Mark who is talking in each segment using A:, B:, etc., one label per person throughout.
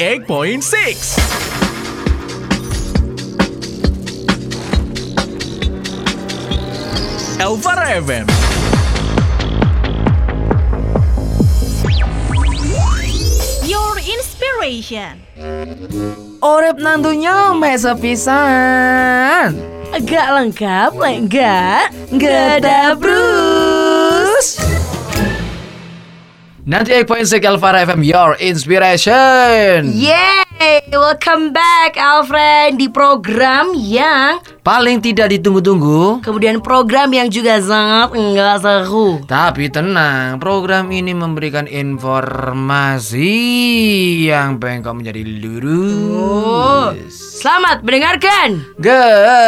A: 98.6 Elvara FM
B: Your inspiration.
C: Orep nantunya mesa pisan.
B: Gak lengkap, lek enggak.
C: Gada Bruce. 98.6 Alvara FM Your Inspiration
B: Yeay, welcome back Alfred di program yang
C: Paling tidak ditunggu-tunggu
B: kemudian program yang juga sangat enggak seru.
C: Tapi tenang, program ini memberikan informasi yang pengen kamu jadi
B: Oh,
C: lurus
B: selamat mendengarkan.
C: Gada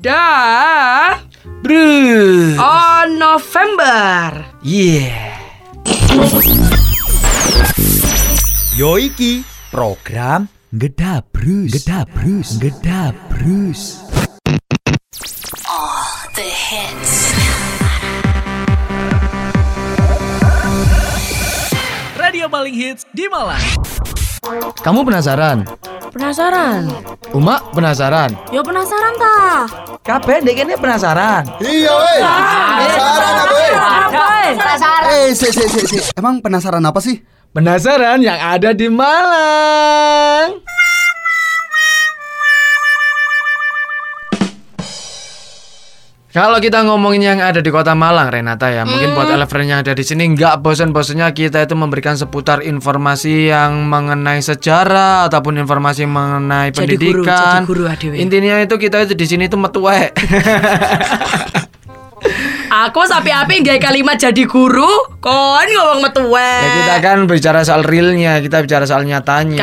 B: Dah
C: Bruce
B: on November.
C: Yeah
D: Yoiki program Gedabrus Gedabrus Gedabrus
A: Radio paling hits di Malang
C: Kamu penasaran?
B: Penasaran?
C: Uma penasaran?
B: Yo penasaran ta?
C: Kabeh dekene penasaran
E: Iya weh. Penasaran apa weh?
B: Penasaran.
E: Eh, si, si, si, si. Emang penasaran apa sih?
C: Penasaran yang ada di Malang. Kalau kita ngomongin yang ada di kota Malang, Renata ya, mungkin
B: Hmm.
C: buat eleven yang ada di sini nggak bosan-bosannya kita itu memberikan seputar informasi yang mengenai sejarah ataupun informasi mengenai
B: Jadi guru,
C: pendidikan.
B: jadi guru, adewe.
C: Intinya itu kita itu di sini itu metuwek.
B: Aku sampai api nggak kalimat jadi guru, kon ngomong metuwe.
C: ya, kita kan bicara soal realnya, kita bicara soal nyatanya.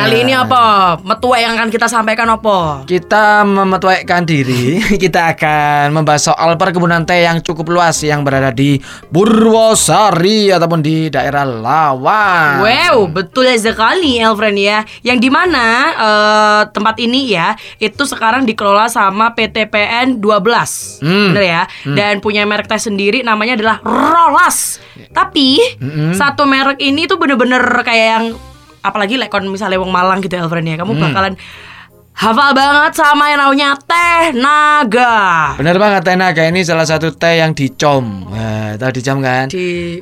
B: Eh. Kali ini apa? Metua yang akan kita sampaikan apa?
C: Kita memetuaikan diri, kita akan membahas soal perkebunan teh yang cukup luas yang berada di Purwosari ataupun di daerah Lawang.
B: Wow, betul sekali Elfriend ya. Yang dimana eh, tempat ini ya itu sekarang dikelola sama PTPN 12,
C: Hmm.
B: bener ya. Dan punya merek teh sendiri, namanya adalah Rolas. Tapi
C: Hmm.
B: satu merek ini tuh bener-bener kayak yang apalagi lekon misalnya Wong Malang gitu Elfriend ya,
C: Hmm.
B: kamu bakalan hafal banget sama yang namanya teh naga.
C: Bener banget teh naga ini salah satu teh yang dicom. Nah, tahu dicom kan?
B: Di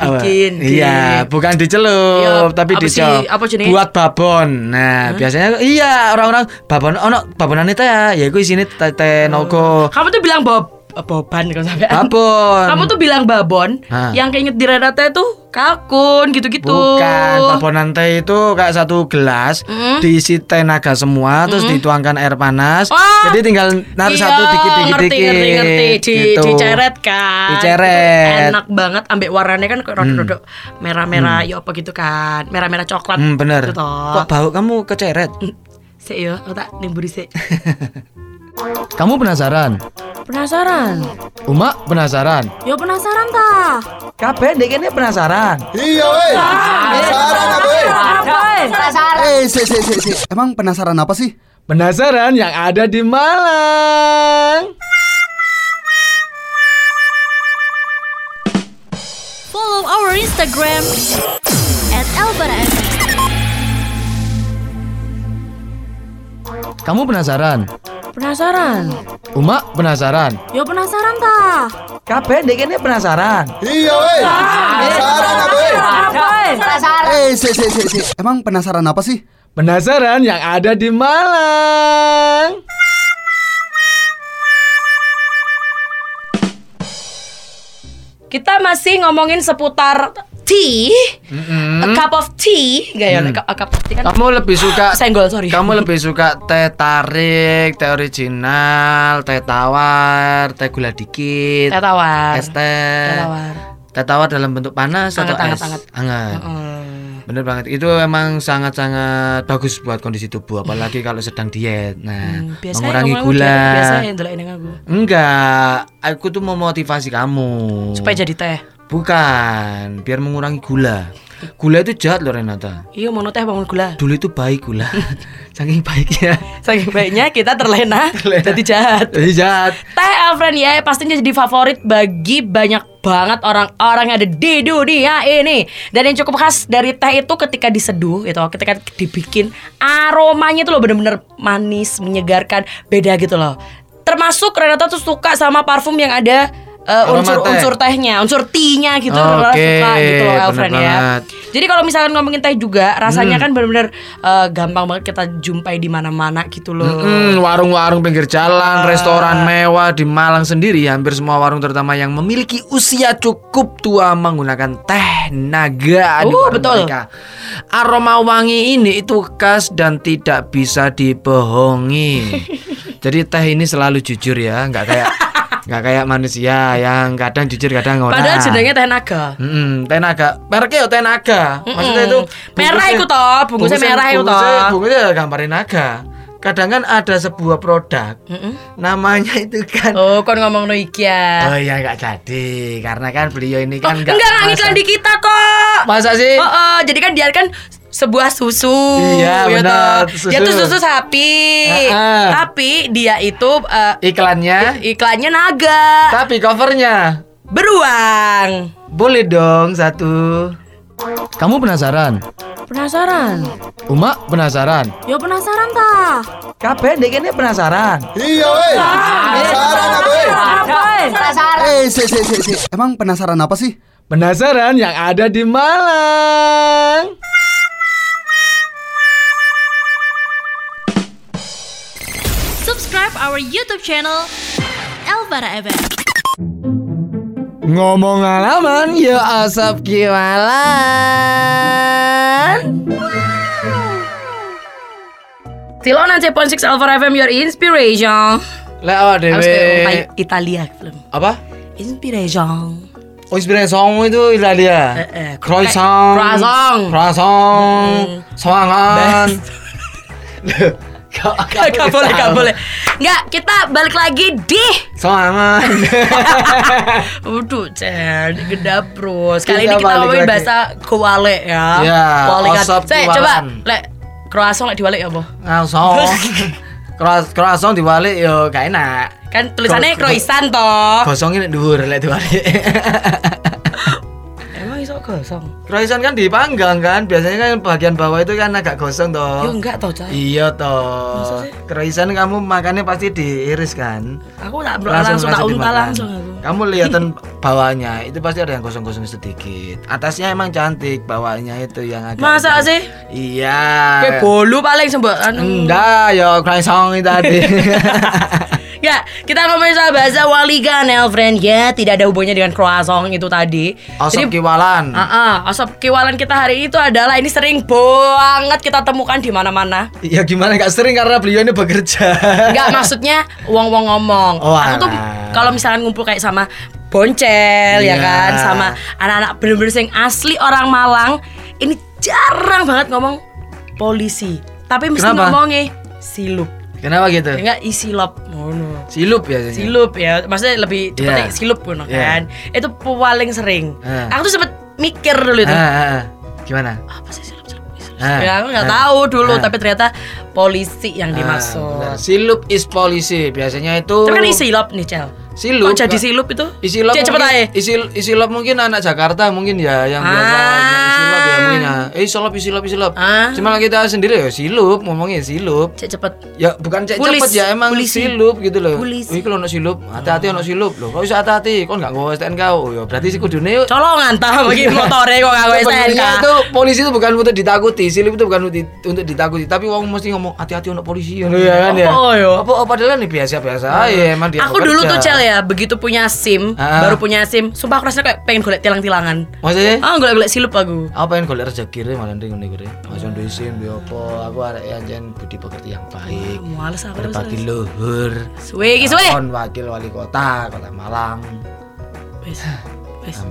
C: Apa?
B: dibikin. di-
C: Iya, bukan dicelup,
B: Iya,
C: tapi
B: apa sih-
C: dicom.
B: apa jenis?
C: Buat babon. Nah, biasanya iya orang-orang babon ono babonan teh ya, ya iku isine teh, teh naga.
B: Kamu tuh bilang eh, bob boban kalau sampai.
C: Babon.
B: Oh. kan Kamu tuh bilang babon,
C: Hah.
B: yang keinget di Renata itu kalkun gitu-gitu.
C: Bukan, tabonan teh itu kayak satu gelas diisi teh naga semua terus dituangkan air panas.
B: Oh,
C: jadi tinggal naruh
B: iya,
C: satu dikit-dikit
B: ngerti, ngerti, ngerti. Di,
C: gitu.
B: Diceret kan.
C: Diceret. Hmm.
B: Itu Enak banget ambek warnanya kan kayak rodok-rodok merah-merah ya apa gitu kan. Merah-merah coklat.
C: Hmm, bener.
B: Gitu Mm. toh.
C: Kok bau kamu keceret?
B: Sik yo, aku tak nimburi sik.
C: Kamu penasaran?
B: penasaran.
C: Uma penasaran?
B: Yo penasaran ta?
C: Kabeh dekene penasaran.
E: Iya weh. Penasaran apa weh? Eh, si, si, si, si. Emang penasaran apa sih?
C: Penasaran yang ada di Malang.
F: Follow our Instagram at Elvara
C: Kamu penasaran?
B: Penasaran.
C: Uma penasaran?
B: Yo penasaran ta?
C: Kabeh dekene penasaran.
E: Iya weh. Penasaran apa weh? Eh, si, si, si, si. Emang penasaran apa sih?
C: Penasaran yang ada Eh, di Malang.
B: Kita masih ngomongin seputar tea, a cup of tea, gak ya?
C: Hmm.
B: A cup of tea kan
C: Kamu lebih suka
B: senggol sorry.
C: Kamu lebih suka teh tarik, teh original, teh tawar, teh gula dikit,
B: teh tawar.
C: es teh.
B: Teh tawar.
C: Teh tawar dalam bentuk panas atau
B: Anget, anget,
C: es?
B: anget.
C: Anget.
B: Hmm,
C: Bener banget. Itu emang sangat-sangat bagus buat kondisi tubuh,
B: Mm.
C: apalagi kalau sedang diet. Nah, mengurangi gula. Oh.
B: Biasa yang dolain dengan aku.
C: Enggak, aku tuh memotivasi kamu.
B: Supaya jadi teh.
C: Bukan, biar mengurangi gula. Gula itu jahat loh Renata.
B: Iya mau teh bangun gula.
C: Dulu itu baik gula. Saking baiknya.
B: Saking baiknya kita terlena,
C: Terlena.
B: jadi jahat.
C: Jadi jahat.
B: Teh Elfriend ya pastinya jadi favorit bagi banyak banget orang-orang yang ada di dunia ini Dan yang cukup khas dari teh itu ketika diseduh gitu Ketika dibikin aromanya itu loh bener-bener manis, menyegarkan, beda gitu loh Termasuk Renata tuh suka sama parfum yang ada eh,
C: Aroma
B: unsur-unsur tehnya, unsur tea-nya gitu Renata
C: Oke,
B: suka gitu loh Elfriend
C: bener
B: ya
C: banget. Hmm.
B: jadi kalau misalkan ngomongin teh juga rasanya kan bener-bener eh, gampang banget kita jumpai di mana-mana gitu loh
C: Mm-mm, Hmm, warung-warung pinggir jalan, restoran mewah di Malang sendiri hampir semua warung terutama yang memiliki usia cukup tua menggunakan teh naga di
B: Uh,
C: warung
B: betul.
C: mereka. Aroma wangi ini itu khas dan tidak bisa dibohongi. Jadi teh ini selalu jujur ya, nggak kayak nggak kayak manusia yang kadang jujur kadang Nah. ngorak.
B: Padahal jenengnya teh naga
C: Mm-mm, teh naga. Mereknya ya teh naga. Maksudnya itu
B: Merah
C: bungkusnya-
B: iku toh, bungkusnya merah iku toh.
C: bungkusnya- Bungkusnya ya gambarin naga. Kadang kan ada sebuah produk. Namanya itu kan
B: Oh, kon ngomong no iki ya.
C: Oh iya nggak jadi karena kan beliau ini
B: Oh,
C: kan
B: enggak enggak
C: masa-
B: ngiklan di kita kok.
C: Masa sih?
B: Oh, oh, jadi kan dia kan sebuah susu
C: Iya,
B: ya
C: benar, Ah,
B: toh. Dia
C: susu.
B: tuh susu sapi
C: Heeh.
B: Tapi dia itu eh,
C: Iklannya
B: Iklannya naga
C: tapi covernya
B: Beruang
C: boleh dong satu. Kamu penasaran?
F: Penasaran?
C: Uma penasaran?
F: Yo penasaran ta?
C: Kabeh dekene penasaran.
E: Iya, weh. Penasaran apa, weh?
F: Penasaran?
E: Eh, si, si, si, si. Emang penasaran apa sih?
C: Penasaran yang ada di Malang.
F: Subscribe our YouTube channel Elvara FM.
C: Ngomong alaman, yo asap kiwalan.
B: Tilon and Cepon 6 Alpha FM Your Inspiration
C: Lek awak
B: Harus kayak
C: dhewe.
B: orang Italia film
C: Apa?
B: Inspiration
C: Oh, inspirasi song itu Italia.
B: Eh, eh,
C: Croissant.
B: kayak croissant.
C: Croissant. Soangan. Gak,
B: Gak, gak boleh, gak boleh Enggak, kita balik lagi di
C: Soangan.
B: Waduh, Cen, geda bro. Sekali ini kita
C: Kita Iya, balik
B: ngomongin
C: lagi.
B: bahasa koale ya.
C: Ya,
B: Koale kan.
C: osop
B: Saya
C: kualan.
B: coba lek croissant lek diwalek ya, apa?
C: Croissant. Croiss- Croissant dibalik yo gak enak.
B: Kan tulisannya
C: Kro- kro-
B: croissant toh.
C: Gosongin dhuwur lek dibalik.
B: Emang iso gosong?
C: Croissant kan dipanggang kan, biasanya kan bagian bawah itu kan agak gosong toh.
B: Yo enggak toh, Cen.
C: Iya toh. Croissant kamu makannya pasti diiris kan?
B: Aku tak langsung, langsung tak unta
C: dimakan. Eh.
B: langsung aku.
C: Kamu lihatan bawahnya itu pasti ada yang kosong-kosong sedikit. Atasnya emang cantik, bawahnya itu yang agak.
B: Masa sih?
C: Iya.
B: Kayak bolu paling sembah anu.
C: Enggak, ya croissant itu tadi.
B: Ya, kita ngomongin soal bahasa waligan, Elfriend. Ya, tidak ada hubungannya dengan croissant itu tadi.
C: Osok kiwalan.
B: Ah, ah, asap kiwalan kita hari itu adalah ini sering banget kita temukan di mana-mana.
C: Ya gimana gak sering karena beliau ini bekerja.
B: Enggak maksudnya wong-wong ngomong.
C: Oh,
B: aku tuh
C: alah.
B: kalau misalkan ngumpul kayak sama Boncel ya
C: Iya.
B: kan sama anak-anak bener-bener yang asli orang Malang, ini jarang banget ngomong polisi. Tapi mesti
C: Kenapa?
B: ngomongnya silup.
C: Kenapa gitu?
B: Enggak isilop ngono.
C: Silup biasanya.
B: Silup ya, maksudnya lebih cepet
C: Iya.
B: kayak silup ngono
C: Iya.
B: kan. Itu paling sering.
C: Eh.
B: Aku tuh sempet mikir dulu itu.
C: Ah, ah, ah. Gimana?
B: Apa sih silup? silup, silup?
C: Ah,
B: Ya, aku nggak
C: ah,
B: tahu dulu,
C: ah.
B: tapi ternyata polisi yang
C: Ah, benar.
B: dimaksud.
C: silup is polisi biasanya itu.
B: Tapi kan ini silop nih Cel
C: Silup.
B: Kok jadi silup itu?
C: Isi love
B: Cel, cepet
C: mungkin,
B: aja
C: isi, isi love mungkin anak Jakarta mungkin ya yang biasa
B: Ah.
C: isi love ya mungkin ya. Eh isi love isi love isi love.
B: Ah.
C: Cuma kita sendiri ya silup ngomongnya silup.
B: Cek cepet
C: Ya bukan cek
B: Pulis.
C: cepet ya emang
B: Pulisi.
C: silup gitu loh.
B: Pulis.
C: Wih kalau ono silup, hati-hati ono silup loh. Kok bisa hati-hati? Kok enggak nggawa STNK? Oh ya berarti sih kudune yuk.
B: Colongan tah
C: Iya.
B: bagi motornya Oh, kok gak gue STNK
C: Sebenarnya itu polisi itu bukan untuk ditakuti, silup itu bukan untuk- untuk ditakuti, tapi wong mesti ngomong hati-hati ono polisi
B: Oh,
C: ngono ya kan ya.
B: Apa yo?
C: Apa apa padahal nih biasa-biasa ya emang dia
B: Iya. Aku dulu
C: bekerja.
B: tuh Cel ya Begitu punya SIM
C: Ah.
B: Baru punya SIM Sumpah aku rasanya kayak pengen golek tilang-tilangan
C: Maksudnya?
B: Ah golek-golek silup aku
C: Aku pengen golek rezeki re malah ning ngene iki. Mas duwe isin duwe apa? Aku arek anjen budi pekerti yang baik.
B: Males aku
C: Berbagi luhur.
B: Suwe iki suwe
C: Kon wakil wali kota, Kota Malang.
B: Wes Wes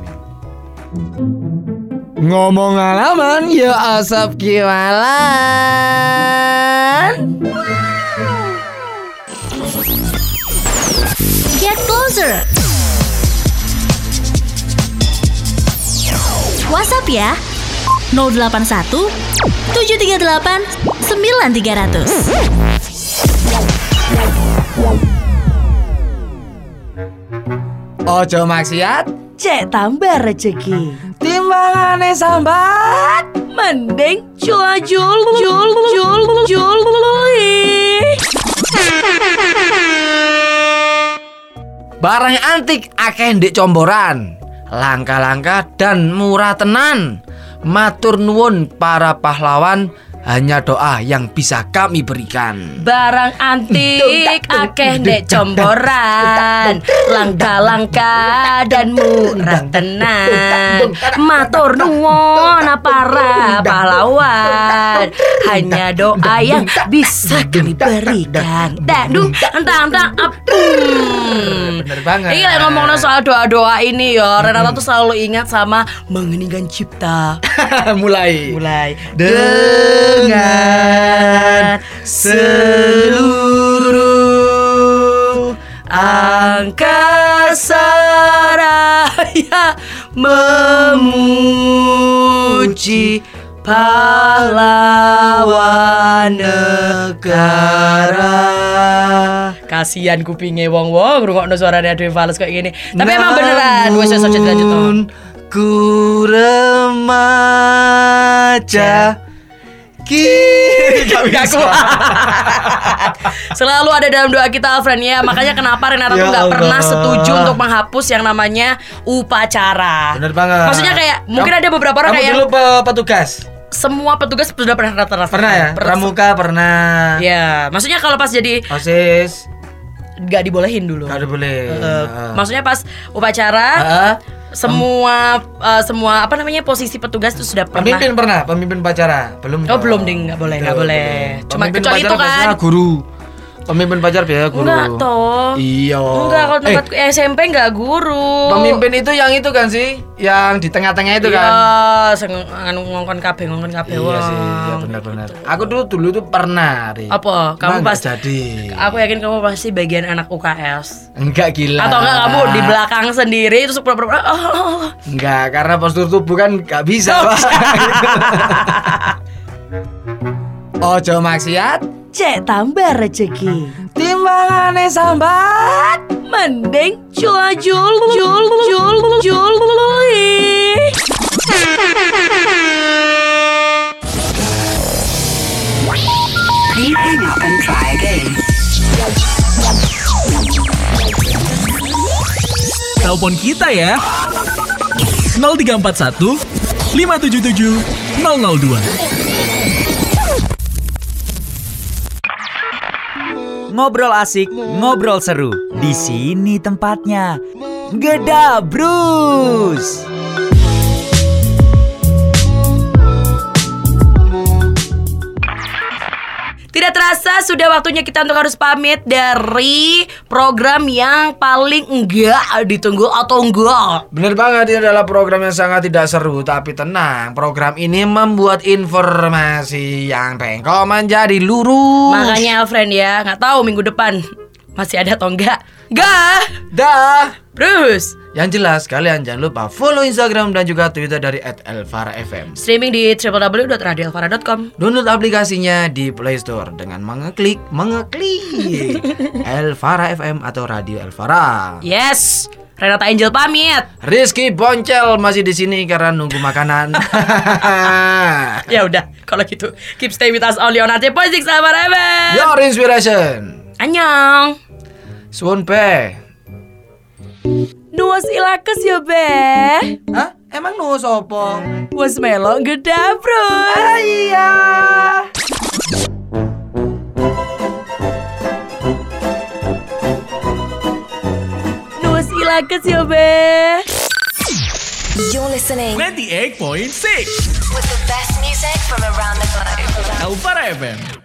C: Ngomong alaman ya asap kiwalan.
F: Get closer. WhatsApp ya. 081 738 9300.
C: Ojo maksiat
B: Cek tambah rezeki.
C: Timbangane sambat
B: Mending cula jul jul jul jul
C: Barang antik akeh ndek comboran Langka-langka dan murah tenan Matur nuwun para pahlawan Hanya doa yang bisa kami berikan
B: Barang antik akeh dek comboran Langka-langka dan murah tenan Matur nuwun para pahlawan Hanya doa yang bisa kami berikan Dadung entang entang apung
C: Bener banget
B: Ini lagi ngomongin soal doa-doa ini ya Renata tuh selalu ingat sama mengeningkan cipta
C: Mulai
B: Mulai
C: Dengan
B: seluruh angkasa raya memuji pahlawan negara kasihan kupingnya wong wong rungokno suaranya Dewi Fales kayak gini tapi emang beneran wes wes lanjut lanjut Tom.
C: Namun ku remaja Kini
B: Gak kuat. Selalu ada dalam doa kita Alfred ya. Makanya kenapa Renata
C: Ya
B: tuh nggak
C: Allah.
B: pernah setuju untuk menghapus yang namanya upacara.
C: Bener banget
B: Maksudnya kayak mungkin
C: Kamu-
B: ada beberapa orang
C: kamu
B: kayak
C: dulu pe- petugas
B: semua petugas sudah pernah rata-rata.
C: Pernah ya? Pramuka pernah
B: Ya, maksudnya kalau pas jadi
C: Osis
B: nggak dibolehin dulu.
C: Gak ada boleh
B: Eh,
C: Heeh.
B: maksudnya pas upacara
C: Heeh.
B: semua eh, semua apa namanya posisi petugas itu sudah pernah.
C: Pemimpin pernah? Pemimpin pacara? Belum
B: Oh
C: dong.
B: belum ding nggak boleh nggak
C: Belum,
B: boleh.
C: belum.
B: Cuma
C: Pemimpin
B: kecuali
C: pacara
B: itu kan.
C: biasanya guru Pemimpin pacar biasanya guru
B: Enggak toh.
C: Iya
B: Enggak kalau
C: Eh,
B: tempat SMP enggak guru.
C: Pemimpin itu yang itu kan sih, yang di tengah-tengah itu kan.
B: Iya, Ya sing nganu ngongkon kabeh ngongkon kabeh
C: Iya
B: wong.
C: sih, iya benar-benar. Aku dulu dulu tuh pernah. Ri.
B: Apa? Kamu
C: Cuma nggak
B: pas
C: jadi.
B: Aku yakin kamu pasti bagian anak UKS.
C: Enggak gila.
B: Atau enggak kamu di belakang sendiri terus pura-pura oh, oh, oh.
C: Enggak, karena postur tubuh kan enggak bisa. Pak. Ojo maksiat,
B: cek tambah rezeki.
C: timbangane sambat.
B: Mending cula jul jul jul jul
A: Telepon kita ya. 0341 577 002.
D: Ngobrol asik, ngobrol seru. Di sini tempatnya. Geda Bruce.
B: Tidak terasa sudah waktunya kita untuk harus pamit dari program yang paling enggak ditunggu atau enggak.
C: Bener banget, ini adalah program yang sangat tidak seru Tapi tenang, program ini membuat informasi yang pengkol menjadi lurus
B: Makanya Alfred ya, nggak tahu minggu depan masih ada atau enggak. Enggak.
C: Dah
B: Terus
C: Yang jelas, kalian jangan lupa follow Instagram dan juga Twitter dari @elvarafm
B: streaming di www.radioalvara.com.
C: Download aplikasinya di Play Store dengan mengeklik, mengeklik Elvara FM atau Radio Elvara.
B: Yes. Renata Angel pamit.
C: Rizky Boncel masih di sini karena nunggu makanan.
B: Ya udah, kalau gitu keep stay with us only on RT Positif sama Reben.
C: Your inspiration.
B: Annyeong.
C: Suwon pe.
B: Nuas ilakes ya be.
C: Hah? Emang nu sopo?
B: Was melo geda bro.
C: Iya.
B: Nuas ilakes ya be.
G: You're listening
A: 98.6
G: with the best music from around the globe.
A: Elvara FM.